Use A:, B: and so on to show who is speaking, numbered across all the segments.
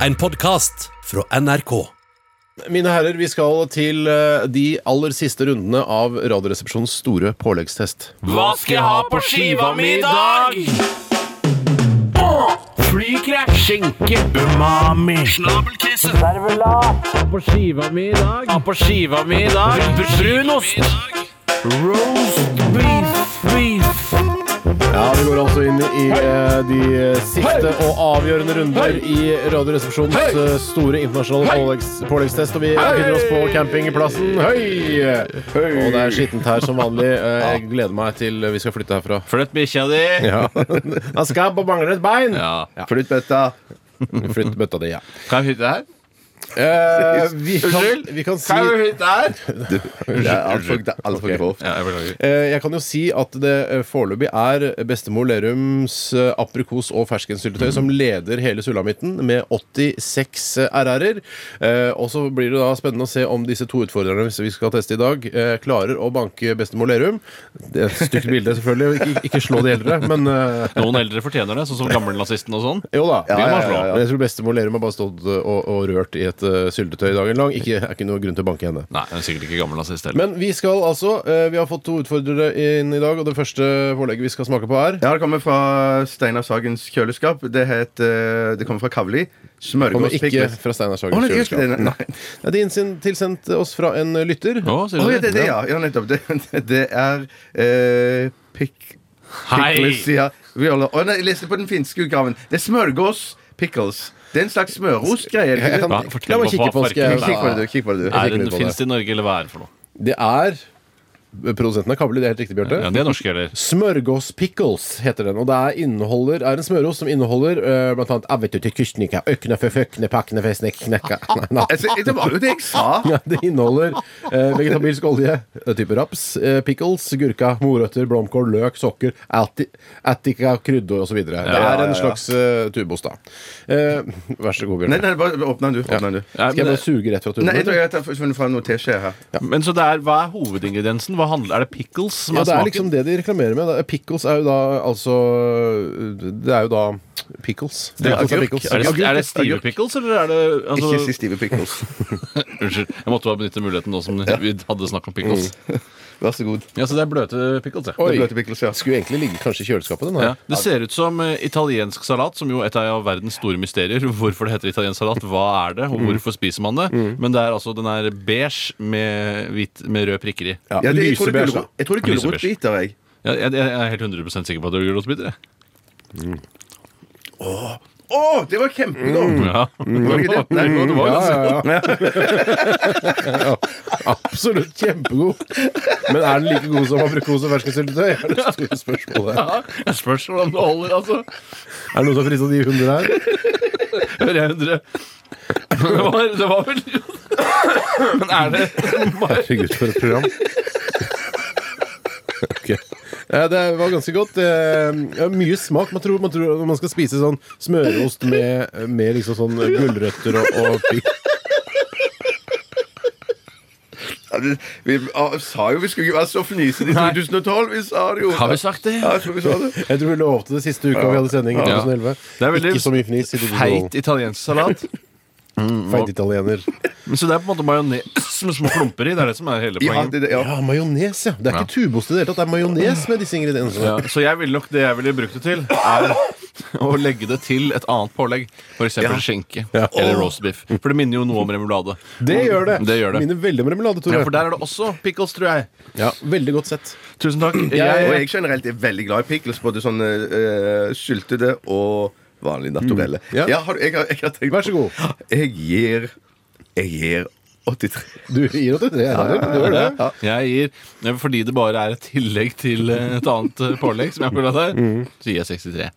A: En podkast fra NRK.
B: Mine herrer, vi skal til eh, de aller siste rundene av Radioresepsjonens store påleggstest.
C: Hva skal jeg ha på skiva mi i dag? Åh, Flykrek, skinke, umami Snabelkrise Servelat Ha på skiva mi i dag Ha på skiva mi i dag Brunost Roast beef Beef
B: Ja, Vi går altså inn i eh, de siste og avgjørende runder i Radioresepsjonens eh, store internasjonale påleggs- påleggstest. Og vi befinner oss på campingplassen. Høy! Og det er skittent her som vanlig. Eh, Jeg gleder meg til vi skal flytte herfra.
C: Flytt bikkja di
B: Ja. Han skal på mangler et bein!
C: Ja.
D: Flytt bøtta.
B: Flytt bøtta di, ja.
C: Kan jeg flytte her?
B: Eh, vi, kan,
C: Unnskyld?
B: vi kan
C: Kan
B: si
C: jeg flytte her?
D: Du, det er altfor alt for grovt.
C: Ja, jeg beklager
B: Eh, Jeg kan jo si at det eh, foreløpig er bestemor Lerums eh, aprikos- og ferskensyltetøy som leder hele sulamitten med 86 RR-er. Eh, Og så blir det da spennende å se om disse to utfordrerne hvis vi skal teste i dag, eh, klarer å banke bestemor Lerum. Det er et stygt bilde, selvfølgelig. og Ikke, ikke slå de eldre, men eh,
C: Noen eldre fortjener det, sånn som gammelnazisten og sånn
B: jo da.
D: Ja,
B: vi må
D: ja,
B: slå.
D: ja, ja.
B: Men jeg tror bestemor Lerum har bare stått eh, og, og rørt i et eh, syltetøy dagen lang. Ikke, er ikke noe grunn til å banke henne.
C: Nei, den er sikkert ikke gammelnazist heller
B: Men vi skal altså, eh, vi har fått to utfordrere inn i dag, og det første pålegget vi skal smake på, er
D: Ja, det kommer fra Steinar Sagens kjøleskap. Det, het, eh, det kommer fra Kavli.
B: Kommer ikke
D: Smørgårdspigg.
B: fra Steinar
D: Å,
B: Sagens
D: nei, det er ikke
B: kjøleskap.
D: det, nei.
B: Nei. Ja, Det er innsendt- tilsendt oss fra en lytter.
C: Å,
D: Å
C: sier
D: ja,
C: du
D: det er
C: det?
D: det, ja. ja nettopp. Det, det- det er eh, pikk...
C: Hei.
D: Pickles, ja. Vi holder- Å, nei, jeg leste på den finske utgaven. Det er smørgås pickles. Det er en slags smørostgreie.
B: Jeg kan-
C: Hva?
B: La
C: Fortell
B: meg
C: meg hva
B: kikke på den, skal
C: farken
D: Kikk på det, du.
B: jeg-
D: Kikk på det, du.
C: Er
B: fikk
C: den
B: lyd på
C: finnes i Norge, eller hva er det for noe?
B: Det er produsenten av kabler, det er helt riktig, Bjarte.
C: Ja, det er norske, eller?
B: Smørgås pickles heter den, og det er, inneholder, er en smørost som inneholder uh, blant annet avvetet kystnika, økne for føkne, pakkene for snek, knekka Nei, nei.
D: Altså, det var jo det jeg sa.
B: Ja, det inneholder eh, vegetabilsk olje, eh, type raps, eh, pickles, gurka, morøtter, blomkål, løk, sokker, atti- attika, krydder osv. Det
D: ja,
B: er
D: ja,
B: en
D: ja.
B: slags eh, tubost, da. Eh, vær så god,
D: Nei,
B: Bjørn.
D: nei, bare åpne den, du. Åpne den,
C: Ja,
D: du.
B: Skal jeg
C: men-
B: bare suge rett fra tuben?
D: Nei, jeg tror jeg har funnet fram noe teskje her.
C: Men så det er, Hva er hovedingrediensen? Hva handler, er det pickles som
B: Ja,
C: er
B: det er
C: smaken?
B: liksom det de reklamerer med. da. Pickles er jo da altså Det er jo da pickles.
D: Det er
B: Pickles
D: agurk.
B: pickles.
C: er, det, er det stive
D: Agurk.
C: pickles, eller er det altså,
D: Ikke si stive pickles.
C: Unnskyld, jeg måtte bare benytte muligheten nå som vi hadde snakk om pickles.
D: Vær så god.
C: Ja, Så det er bløte pickles, ja.
B: Mm. Oi.
D: Det er bløte pickles, ja.
B: Skulle egentlig ligge kanskje i kjøleskapet, den
C: ja.
B: her.
C: Det ser ut som eh, italiensk salat, som jo er et av verdens store mysterier. Hvorfor det heter italiensk salat, hva er det, og
B: Mm.
C: hvorfor spiser man det? Men det er altså, den er beige med, hvit, med røde prikker i.
B: Ja,
D: Ja, det, jeg, tror det er
B: lysebeige, da.
D: gulrot- jeg tror det er gulrotbiter, jeg.
C: Ja, jeg, jeg er helt 100 sikker på at det er gulrotbiter. jeg.
D: Å, det var kjempegodt!
C: Ja.
D: Var det ikke det? Nei, det
B: Mm.
D: var
B: Ja,
D: ganske
B: ja, ja. ja. Absolutt kjempegod. Men er den like god som aprikos og ferskensyltetøy? Er det store spørsmålet.
C: Jeg spørs hvordan det holder, altså.
B: Er det noen som har frista de hunder her?
C: Hører jeg 100 det var, det var vel Men er det
B: Herregud, for et program. Ok. Ja, det var ganske godt. Eh, ja, mye smak. Man tror, man tror når man skal spise sånn smørost med, med liksom sånn gulrøtter og, og pikk.
D: Ja, det- Vi ah, sa jo vi skulle ikke være så fnisete i
C: Nei.
D: 2012. Vi sa det jo.
C: Har vi sagt det?
D: Ja, jeg tror vi sa det.
B: Jeg tror vi lovte det siste uka vi hadde sending i
C: Ja.
B: 2011.
C: Det er veldig
B: Ikke så mye fnis. i 2012.
C: Feit italiensk salat.
B: Feit italiener.
C: Men Så det er på en måte majones med små klumper i. Det er det som er hele
D: Ja,
C: poenget.
D: det, det, ja.
B: Ja, majones, ja. Det er ikke tubost i det hele tatt. Det er majones med disse ingrediensene.
C: Ja, så jeg ville nok det jeg ville brukt det til, er å legge det til et annet pålegg. F.eks. eksempel skinke eller roast beef. For det minner jo noe om remulade.
B: Det gjør det.
C: Det gjør det.
B: Minner veldig om remulade,
C: Ja,
B: Tore.
C: for der er det også pickles, tror jeg.
B: Ja, veldig godt sett.
C: Tusen takk. Jeg,
D: Og jeg generelt er veldig glad i pickles, både sånne eh, syltede og vanlige naturelle.
B: Ja.
D: Ja, har, du- jeg, har, jeg har tenkt
B: Vær så god.
D: Jeg gir Jeg gir 83.
B: Du gir 83 herrer. Du gjør det.
C: jeg gir ja, Fordi det bare er et tillegg til eh, et annet eh, pålegg, som jeg føler at det er, så gir jeg 63.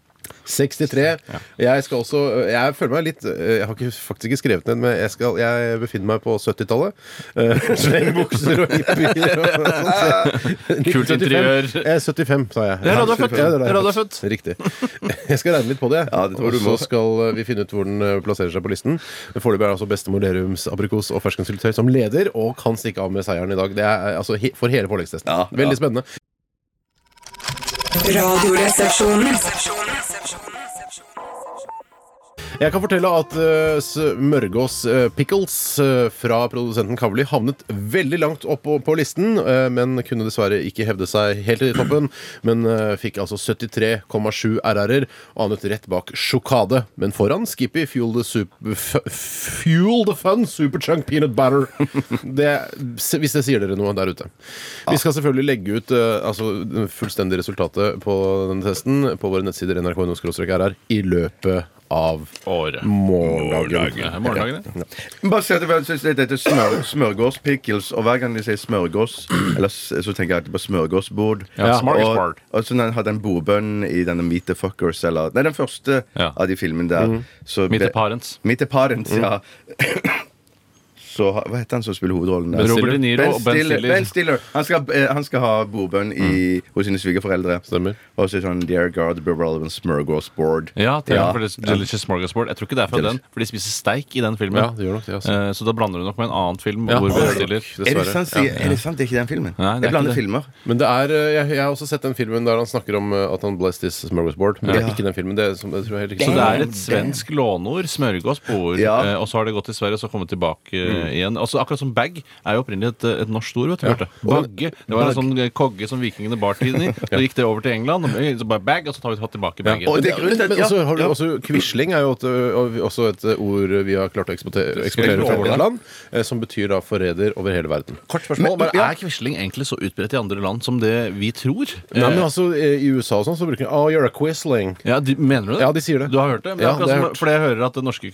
B: 63. Jeg skal også Jeg føler meg litt eh, Jeg har ikke, faktisk ikke skrevet ned, men jeg, skal, jeg befinner meg på 70-tallet. Eh, Slenge bukser og hippier og sånt.
C: Kult
B: 75.
C: interiør.
B: Eh, 75, sa jeg.
C: Det er da du er født.
B: Ja, det er da jeg
C: Det er da du er
B: Riktig. Jeg skal regne litt på det.
D: Ja, det tror
B: og
D: du
B: så
D: må.
B: skal vi finne ut hvor den eh, plasserer seg på listen. Men Foreløpig er det altså bestemor Lerums aprikos og ferskensyltetøy som leder, og kan stikke av med seieren i dag. Det er eh, altså he for hele påleggstesten.
D: Ja, ja.
B: Veldig spennende.
E: Radioresepsjonen.
B: Jeg kan fortelle at eh, smørgås eh, pickles eh, fra produsenten Kavli havnet veldig langt opp på- på listen, eh, men kunne dessverre ikke hevde seg helt i toppen. Men eh, fikk altså 73,7 RR-er, anet rett bak sjokade. Men foran Skippy Fuel the, Sup- F- Fuel the Fun Superchunk Peanut Batter. Det, hvis det sier dere noe der ute. Vi skal selvfølgelig legge ut eh, altså, det fullstendige resultatet på denne testen på våre nettsider nrk.no-rr i løpet av
C: Året.
B: Mm. morgendagen.
C: Ja, Morgendagen, ja.
D: Bare si at jeg synes det heter smør, smørgås pickles, og hver gang de sier smørgås, eller, s- så tenker jeg alltid på smørgåsbord.
C: Ja,
D: og,
C: smørgåsbord.
D: og så når han hadde en bordbønn i denne Meet the Fuckers, eller Nei, den første
C: Ja.
D: av de filmene der.
C: Mm.
D: så
C: Meet
D: ble-
C: the Parents.
D: Meet the Parents,
C: Mm.
D: ja. Så, ha- hva heter han som spiller hovedrollen? der?
C: Robert De Niro og Ben Stiller. Mm.
D: Ben Stiller. Han, skal, eh, han skal ha bordbønn i, hos sine svigerforeldre.
B: Stemmer.
D: Og så er det sånn Dear God, be relevant smørgås board.
C: Ja, til
D: Ja.
C: For det, Delicious Smorgasbord. Jeg tror ikke det er fra den, for de spiser steik i den filmen.
B: Ja, det gjør nok det, altså.
C: Eh, Så da blander du nok med en annen film.
B: Ja.
C: Hvor
B: Oi.
C: vi stiller
D: Er det,
B: Dessverre.
D: sant, sier- er det sant? Det er ikke den filmen?
C: Nei, det er
D: jeg blander
C: ikke det.
D: filmer.
B: Men det er, eh, jeg, jeg har også sett den filmen der han snakker om eh, at han blessed his smørgåsbord. Men det er
D: Ja.
B: ikke den filmen. Det, er som, jeg tror jeg heller
C: Så
B: ikke
C: det er et svensk låneord. Smørgåsbord.
D: Ja.
C: Eh, og så har det gått til Sverige og så kommet tilbake
B: Mm.
C: eh, igjen. Altså, akkurat som bag er jo opprinnelig et, et norsk ord. vet du, Bjarte. Bagge. Det var en sånn eh, kogge som vikingene bar tiden i. Så gikk det over til England. og eh, Så bare bag, og så har vi tatt tilbake bagen.
D: Og
B: Men,
D: det er
B: det-
D: grunnen til
B: men,
D: at-
B: men
D: ja,
B: også, har du
D: ja.
B: også Quisling er jo et, ø, også et eh, ord vi har klart å eksportere, eksportere fra vårt land, eh, som betyr da forræder over hele verden.
C: Kort spørsmål,
D: Men-
C: bare
D: ja.
C: Er Quisling egentlig så utbredt i andre land som det vi tror?
B: Nei, men altså, eh, I USA og sånn så bruker de Oh, you're a Quisling.
C: Ja, de, Mener du det?
B: Ja, de sier det.
C: Du har hørt det? Men
B: Ja,
C: akkurat
B: det har jeg
C: som-
B: hørt.
C: Fordi jeg hører at det norske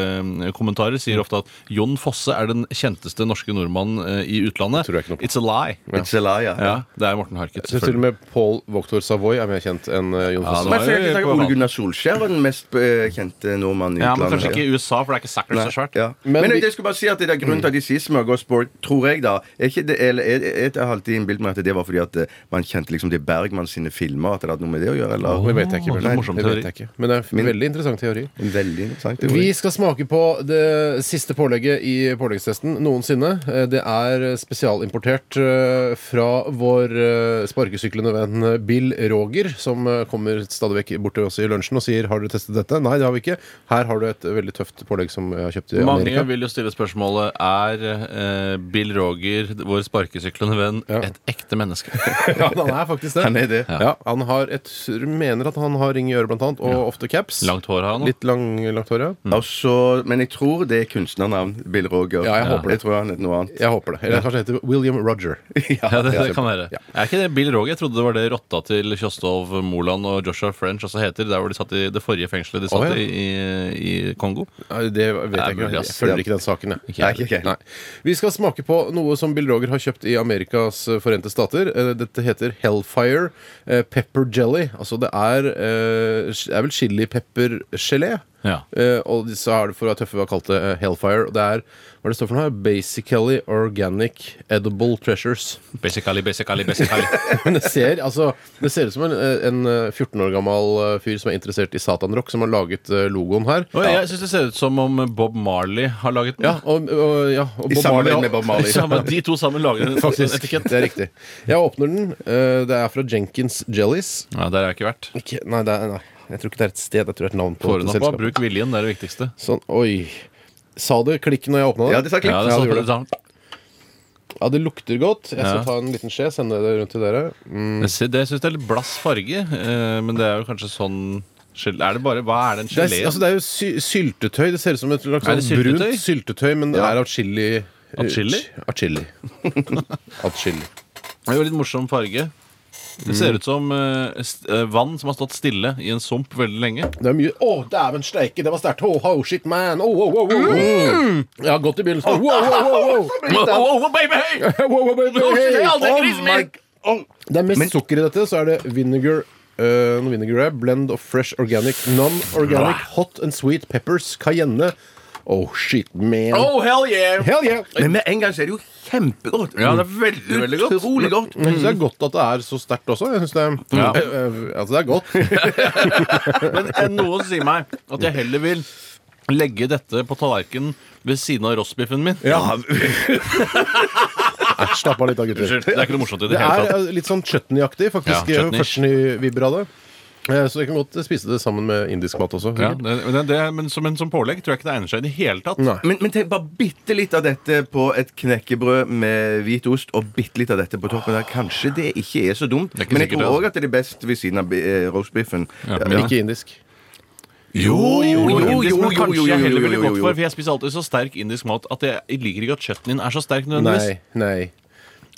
C: kulturkommentarer sier ofte at Jon Fosse er den kjenteste norske nordmannen eh, i utlandet.
B: Tror jeg ikke noe på.
C: It's a lie. Ja.
D: It's a lie, ja.
C: Det er Morten Harket.
B: Jeg synes til og
C: selvfølgelig.
B: med Paul Voktor Savoy er mer kjent enn eh, Jon
C: Ja,
B: Fosse.
C: det var-
D: Men så er det ikke
C: Nei,
D: sant
C: på
D: at Ole Gunnar Solskjær var den mest eh, kjente nordmannen i
C: Ja, men
D: utlandet.
C: Kanskje ikke i USA, for det er ikke Sackler så svært.
D: Ja.
B: Men
D: Men,
B: vi-
D: jeg skulle bare si at det er grunnen til at de sier smørgåsbord, tror jeg, da. Er ikke det, eller, er, er, jeg har alltid innbilt meg at det var fordi at eh, man kjente liksom til Bergman sine filmer, at det hadde noe med det å gjøre, eller?
B: Det vet jeg
C: Åh,
B: ikke.
C: det er
B: men-
C: morsom
B: det vet
C: teori.
B: jeg ikke. Men det er en veldig interessant teori.
D: Veldig interessant. teori.
B: Vi skal smake på det siste pålegget i påleggstesten noensinne. Eh, Det er spesialimportert eh, fra vår eh, sparkesyklende venn Bill Roger, som eh, kommer stadig vekk bort til oss i lunsjen og sier 'Har dere testet dette?' Nei, det har vi ikke. Her har du et veldig tøft pålegg som jeg har kjøpt i
C: Mange
B: Amerika.
C: vil jo stille spørsmålet er eh, Bill Roger, vår sparkesyklende venn, et ekte menneske.
B: Ja, han er faktisk det.
D: Han er det.
B: Ja, han har et, mener at han har ring i øret, blant annet, og ofte caps.
C: Langt Mm. hår har han.
B: Litt lang, langt hår, ja.
D: Og så- men jeg tror det er kunstnernavn. Bill Roger.
B: Ja, jeg håper det.
D: Jeg tror han heter noe annet.
B: Jeg håper det. Eller kanskje det heter William Roger.
C: Ja, det, det kan være.
B: Ja.
C: Er ikke det Bill Roger? Jeg trodde det var det rotta til Kjostov, Moland og Joshua French også heter. Der hvor de satt i det forrige fengselet de
B: Å,
C: satt
B: ja.
C: i, i, i Kongo.
B: Nei, Det vet jeg ikke.
C: mulig,
B: Jeg
C: ass.
B: følger ikke den saken, jeg.
D: Nei, ikke jeg.
B: Nei. Vi skal smake på noe som Bill Roger har kjøpt i Amerikas eh, forente stater. Eh, Dette heter Hellfire eh, Pepper Jelly. Altså det er, eh, det er vel chilipeppergelé.
C: Ja.
B: Eh, Og så er det for å være tøffe vi har kalt det eh, Hellfire. Og det er hva er det står for noe? her? Basically Organic Edible Treasures.
C: Basically, basically, basically.
B: Men det ser, altså, det ser ut som en, eh, en 14 år gammel eh, fyr som er interessert i satanrock, som har laget eh, logoen her.
C: Og jeg syns det ser ut som om Bob Marley har laget den.
B: Ja, og, og, ja, og
D: I
B: Bob Marley
D: samarbeid
B: og-
D: med Bob Marley.
C: Sammen, de to sammen lager den
B: Faktisk.
C: etikett.
B: Det er riktig. Jeg åpner den. Eh, Det er fra Jenkins Jellies.
C: Ja, der har jeg ikke vært.
B: Ikke, nei, det er, nei, jeg tror ikke det er et sted. Jeg tror det er et navn på
C: Får
B: et
C: den opp,
B: selskap.
C: da. Bruk viljen, det er det viktigste.
B: Sånn, oi. Sa det klikk når jeg åpna
D: Ja,
B: det?
D: det sa klikk.
C: Ja, det,
B: Ja,
C: er
B: det gjorde
C: sånn- sånn-
B: Ja, det lukter godt. Jeg skal
C: Ja.
B: ta en liten skje, sende det rundt til dere.
C: Jeg ser- det syns jeg er litt blass farge, eh, men det er jo kanskje sånn gel- er det bare, Hva er den
B: Det er,
C: geleen?
B: altså, det er jo sy syltetøy. Det ser ut som et slags
C: Er det
B: sånn brunt
C: syltetøy?
B: syltetøy, men det er av chili.
C: Av chili?
B: Av chili. Av chili.
C: Det er jo litt morsom farge. Det
B: Mm.
C: ser ut som eh, st- eh, vann som har stått stille i en sump veldig lenge.
B: Det er mye Å, dæven steike, det var sterkt! Oh, oh, shit, man! Oh, oh, oh, oh. Ja, godt i begynnelsen. Wow, wow, wow, wow.
C: Oh, baby, hey!
B: Wow, wow, wow, wow,
C: Hey!
B: hey.
D: Oh my oh.
B: Det er mest
D: Men-
B: sukker i dette, så er det vinegar uh, noe vinegar er Blend of fresh organic, non-organic, hot and sweet peppers, cayenne Oh shit, man.
C: Oh, hell yeah!
B: Hell yeah!
D: Men med en gang så er det jo kjempegodt.
C: Ja, det er veldig, veldig godt.
D: Utrolig godt.
B: Jeg syns det er godt at det er så sterkt også. Jeg synes det er,
C: Ja.
B: Eh, eh, altså, det er godt.
C: Men eh, noen sier meg at jeg heller vil legge dette på tallerkenen ved siden av rostbiffen min.
B: Æsj, slapp av litt da, gutter.
C: Unnskyld, det er ikke noe morsomt i
B: Det eh,
C: det hele tatt.
B: er eh, litt sånn chutneyaktig, faktisk. Ja,
C: Ja, chutney.
B: Førsten i vibber av det. Eh, Så jeg kan godt spise det sammen med indisk mat også.
C: Ja, det, det, det, men, som, men som pålegg tror jeg ikke det egner seg i det hele tatt.
B: Nei.
D: Men, men tenk bare bitte litt av dette på et knekkebrød med hvit ost, og bitte litt av dette på toppen. der Kanskje det ikke er så dumt.
C: er ikke
D: men jeg
C: sikkert,
D: tror
C: altså.
D: òg at det er best ved siden av bi- eh, roastbiffen.
C: Ja,
B: Men
C: ja.
B: ikke indisk.
C: Jo, jo, jo,
D: jo,
C: indisk, men
D: jo,
C: kanskje
D: jo, jo,
C: jeg
D: jo,
C: heller ville
D: jo,
C: gått
D: jo.
C: for For jeg spiser alltid så sterk indisk mat at jeg, jeg liker ikke at kjøttet din er så sterk nødvendigvis.
B: Nei. Nei.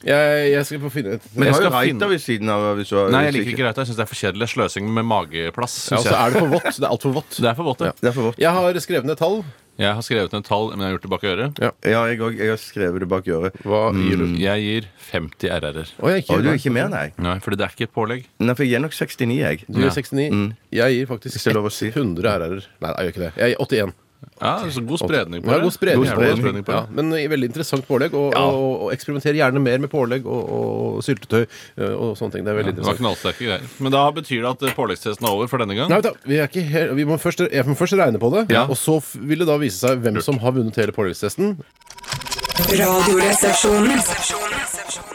B: Jeg, jeg skal få finne et
D: Men
C: Jeg
D: har jo
C: skal finne-
D: raita ved siden av. Hvis du har,
C: Nei, jeg liker ikke raita. Jeg syns det er for kjedelig. Sløsing med mageplass.
B: Ja, altså,
C: Synes
B: og så
C: jeg.
B: er det for vått. Det er altfor vått.
C: Det er for vått, det.
D: Det er for vårt.
B: Jeg har skrevet ned tall.
C: Jeg har skrevet ned tall, men jeg har gjort det bak øret.
D: Ja, jeg òg. Jeg har skrevet det bak øret.
B: Hva gir du?
C: Jeg gir 50 RR-er.
B: Å, jeg
D: Og
B: gir
D: du er ikke mer, nei?
C: Nei, fordi det er ikke et pålegg.
D: Nei, for jeg er nok 69, jeg.
B: Du gir 69. Jeg gir
D: Hvis
B: faktisk
D: det er lov å si.
B: 100 RR-er. Nei, jeg gjør ikke det. Jeg gir 81.
C: Ja, så god spredning på
B: Ja,
C: det.
B: god spredning. på
C: Jævlig god
B: det.
C: spredning på
B: Ja,
C: det.
B: men veldig interessant pålegg. Og, og, og eksperimenter gjerne mer med pålegg og, og syltetøy eh, og sånne ting. Det er veldig
C: Det var
B: interessant.
C: knallsterke greier. Men da betyr det at eh, påleggstesten er over for denne gang.
B: Nei, vet du, vi er ikke helt, vi må først, jeg må først regne på det,
C: Ja.
B: og så f- vil det da vise seg hvem som har vunnet hele påleggstesten.
E: Radioresepsjonen.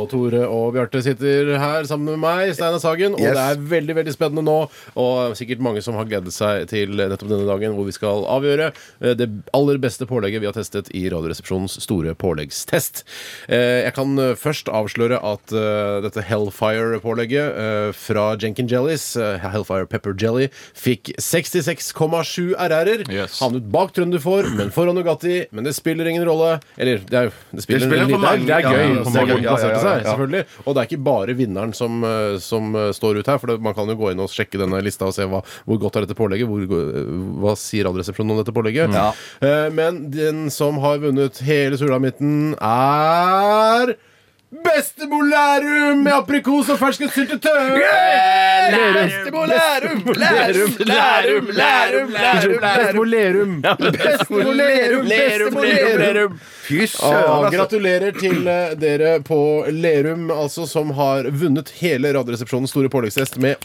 B: Og Tore og Bjarte sitter her sammen med meg, Steinar Sagen, og
D: Yes.
B: det er veldig veldig spennende nå. Og sikkert mange som har gledet seg til nettopp denne dagen, hvor vi skal avgjøre eh, det aller beste pålegget vi har testet i Radioresepsjonens store påleggstest. Eh, Jeg kan eh, først avsløre at eh, dette Hellfire-pålegget eh, fra Jenkin Jellies, eh, Hellfire Pepper Jelly, fikk 66,7 RR-er.
C: Yes.
B: Havnet bak Trønderfor, men foran Nugatti. Men det spiller ingen rolle. Eller, det, er, jo- det spiller,
D: Det spiller
B: en
D: for
B: liten- det er-
D: mange,
B: det er
D: ja,
B: gøy.
D: ja,
B: Det er gøy
D: ja, ja,
B: plasserte
D: ja,
B: seg,
D: ja.
B: selvfølgelig. Og det er ikke bare vinneren som, eh, som eh, står ut her, for det, man kan jo gå inn og sjekke denne lista og se hva, hvor godt er dette pålegget, hvor, go- eh, hva sier Radioresepsjonen om dette
D: Mm.
B: pålegget. Eh, Men den som har vunnet hele sulamitten, er Bestemor Lærum med aprikos og ferskt syltetøy! Bestemor Lærum! Lærum, Lærum, Lærum! Bestemor Lerum! Bestemor Lerum! Bestemor Lerum!
D: Fy
B: Ah,
D: søren, altså.
B: gratulerer til eh, dere på Lerum, altså, som har vunnet hele Radioresepsjonens store påleggstest med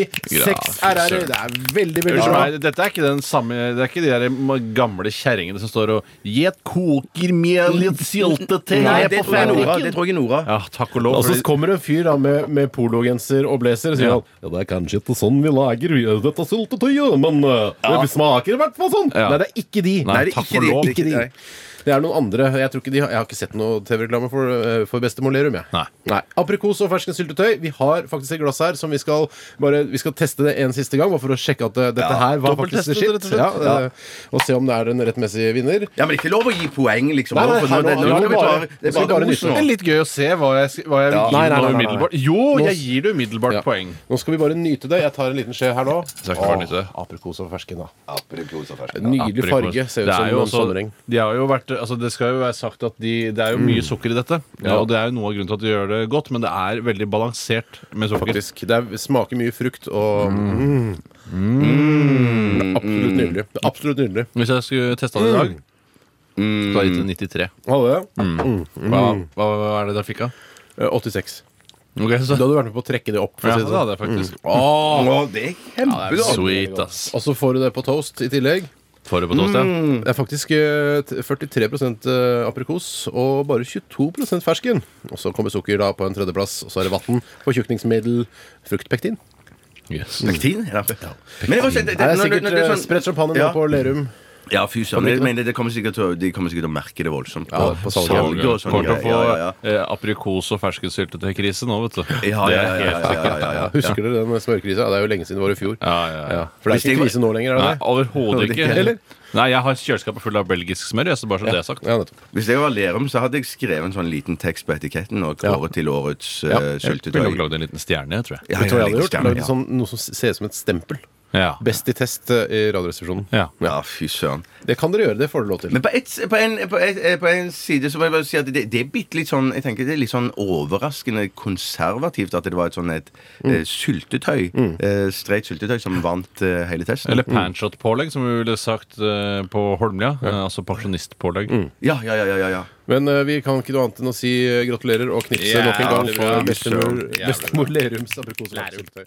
B: 86
C: Gra-
B: RR-er. Det er veldig, veldig
C: Unnskyld
B: bra.
C: meg, dette er ikke den samme Det er ikke de der ma- gamle kjerringene som står og Jeg koker med litt syltetøy
D: Nei,
C: her
D: det
C: på
D: tror jeg er Nora.
C: ferniken».
D: Det tror jeg er Nora.
C: Ja, takk og lov.
B: Og så
C: fordi-
B: kommer det en fyr da med, med pologenser og blazer og sier
C: Ja.
B: han, ja, det er kanskje ikke sånn vi lager dette syltetøyet, men eh, det smaker i hvert fall sånn.
C: Ja.
B: Nei, det er ikke de.
C: Nei,
D: Nei, det er
C: takk
D: ikke
C: og
D: de.
C: lov.
D: Det er
B: Ikke de.
D: Nei.
B: Det er noen andre. Jeg, tror ikke de har, jeg har ikke sett noe TV-reklame for, eh, for bestemor Lerum. Jeg.
C: Nei.
B: Aprikos og fersken syltetøy. Vi har faktisk et glass her som vi skal, bare, vi skal teste det en siste gang. bare For å sjekke at eh, dette her var faktisk det
C: dobbeltteste
B: shit.
C: det, rett og slett.
B: Ja, eh, Og se om det er en rettmessig vinner.
D: Ja, men det er ikke lov å gi poeng, liksom.
B: Nei, nei,
D: overfor
B: her
D: noen.
B: nå-
D: Nå
B: nå
D: skal
B: er det
D: vi ta-
B: bare-
D: det
B: nå
D: er
B: skal vi
D: bare
B: bare nyte.
D: kos nå.
C: Det er litt sånn. gøy å se hva jeg, hva jeg gir
B: Nei, nei, nei,
C: nå
B: nei, nei.
C: umiddelbart. Jo,
B: Nå-
C: jeg gir det umiddelbart
B: Ja.
C: poeng.
B: Nå skal vi bare nyte det. Jeg tar en liten skje her nå.
C: Skal ikke bare nyte det.
B: Åh, aprikos og fersken, da.
D: Aprikos og fersk.
B: Nydelig
C: Aprikos.
B: farge. Ser
C: Det
B: ut
C: er
B: som
C: jo
B: en
C: også-
B: sommereng.
C: De har jo vært, altså det skal jo være sagt at de, det er jo
B: Mm.
C: mye sukker i dette. Ja, og det er jo noe av grunnen til at de gjør det godt, men det er veldig balansert med sukker.
B: Faktisk. Det er, smaker mye frukt og mm.
C: Mm.
B: Det er Absolutt nydelig. Det er Absolutt nydelig.
C: Hvis jeg skulle testa den i dag,
B: Mm.
C: skulle jeg gitt den 93.
B: Ha det.
C: Hva, hva, hva er det dere fikk av?
B: Eh, 86.
C: Ok,
B: Da
C: så-
B: hadde du vært med på å trekke det opp. For
C: Ja,
B: å si
C: det
B: det sånn.
C: hadde jeg faktisk.
D: Å, det er kjempegodt.
C: Sweet, ass.
B: Og så får du det på toast i tillegg.
C: Får du på toast, ja?
D: Mm.
B: Det er faktisk eh, t- 43 eh, aprikos og bare 22 fersken. Og så kommer sukker da på en tredjeplass, og så er det vann, fortjukningsmiddel, fruktpektin.
C: Yes.
D: Pektin? Ja. Men jeg må si, det, det,
B: Det er
D: når-
B: sikkert
D: når det
B: eh,
D: er sånn-
B: spredt champagne nå
D: Ja.
B: på Lerum.
D: Ja, fy søren. Men jeg mener, det kommer sikkert til å- De kommer sikkert til å merke det voldsomt.
B: Ja, på salget.
D: Salget og sånn.
C: Kommer til å
D: greier.
C: få
D: Ja, ja, ja.
C: eh, aprikos- og ferskensyltetøykrise nå, vet du.
D: Ja,
C: Det er
D: ja, ja,
C: helt
D: ja, ja, ja, ja, ja.
B: Husker dere den smørkrisa? Det er jo lenge siden det var i fjor.
C: Ja, ja, ja.
B: Ja, For det
D: Hvis
B: er ikke
D: det-
B: krise nå lenger, er
C: Nei,
B: det det?
C: overhodet ikke.
B: ikke, eller?
C: Nei, jeg har kjøleskapet fullt av belgisk smør, jeg, så bare så det er sagt.
B: Ja, nettopp.
D: Hvis jeg var Lerum, så hadde jeg skrevet en sånn liten tekst på etiketten og kåret til årets eh,
C: Jeg ville nok
D: syltetøy.
C: lagd en liten stjerne, jeg, tror jeg.
D: Ja,
B: Vet du hva jeg
D: ja,
B: hadde
D: litt
B: gjort?
D: stjerne,
B: Lagd
D: ja.
B: sånn, noe som ser ut som et stempel.
C: Ja.
B: Best i test eh, i Radioresepsjonen.
C: Ja.
D: Ja, fy søren.
B: Det kan dere gjøre. Det får dere lov til.
D: Men på, et, på, en, på, et, eh, på en side så må jeg bare si at det, det er bitte litt sånn Jeg tenker det er litt sånn overraskende konservativt at det var et sånn et eh, syltetøy, eh, streit syltetøy, som vant eh, hele testen.
C: Eller panshot-pålegg, som vi ville sagt eh, på Holmlia. Eh, altså pensjonistpålegg.
D: Ja, ja, ja, ja, ja, ja.
B: Men eh, vi kan ikke noe annet enn å si eh, gratulerer og knipse
C: Jævlig
B: nok en gang
C: bra.
B: for bestemor, bestemor Lerums aprikos. og laksetøy.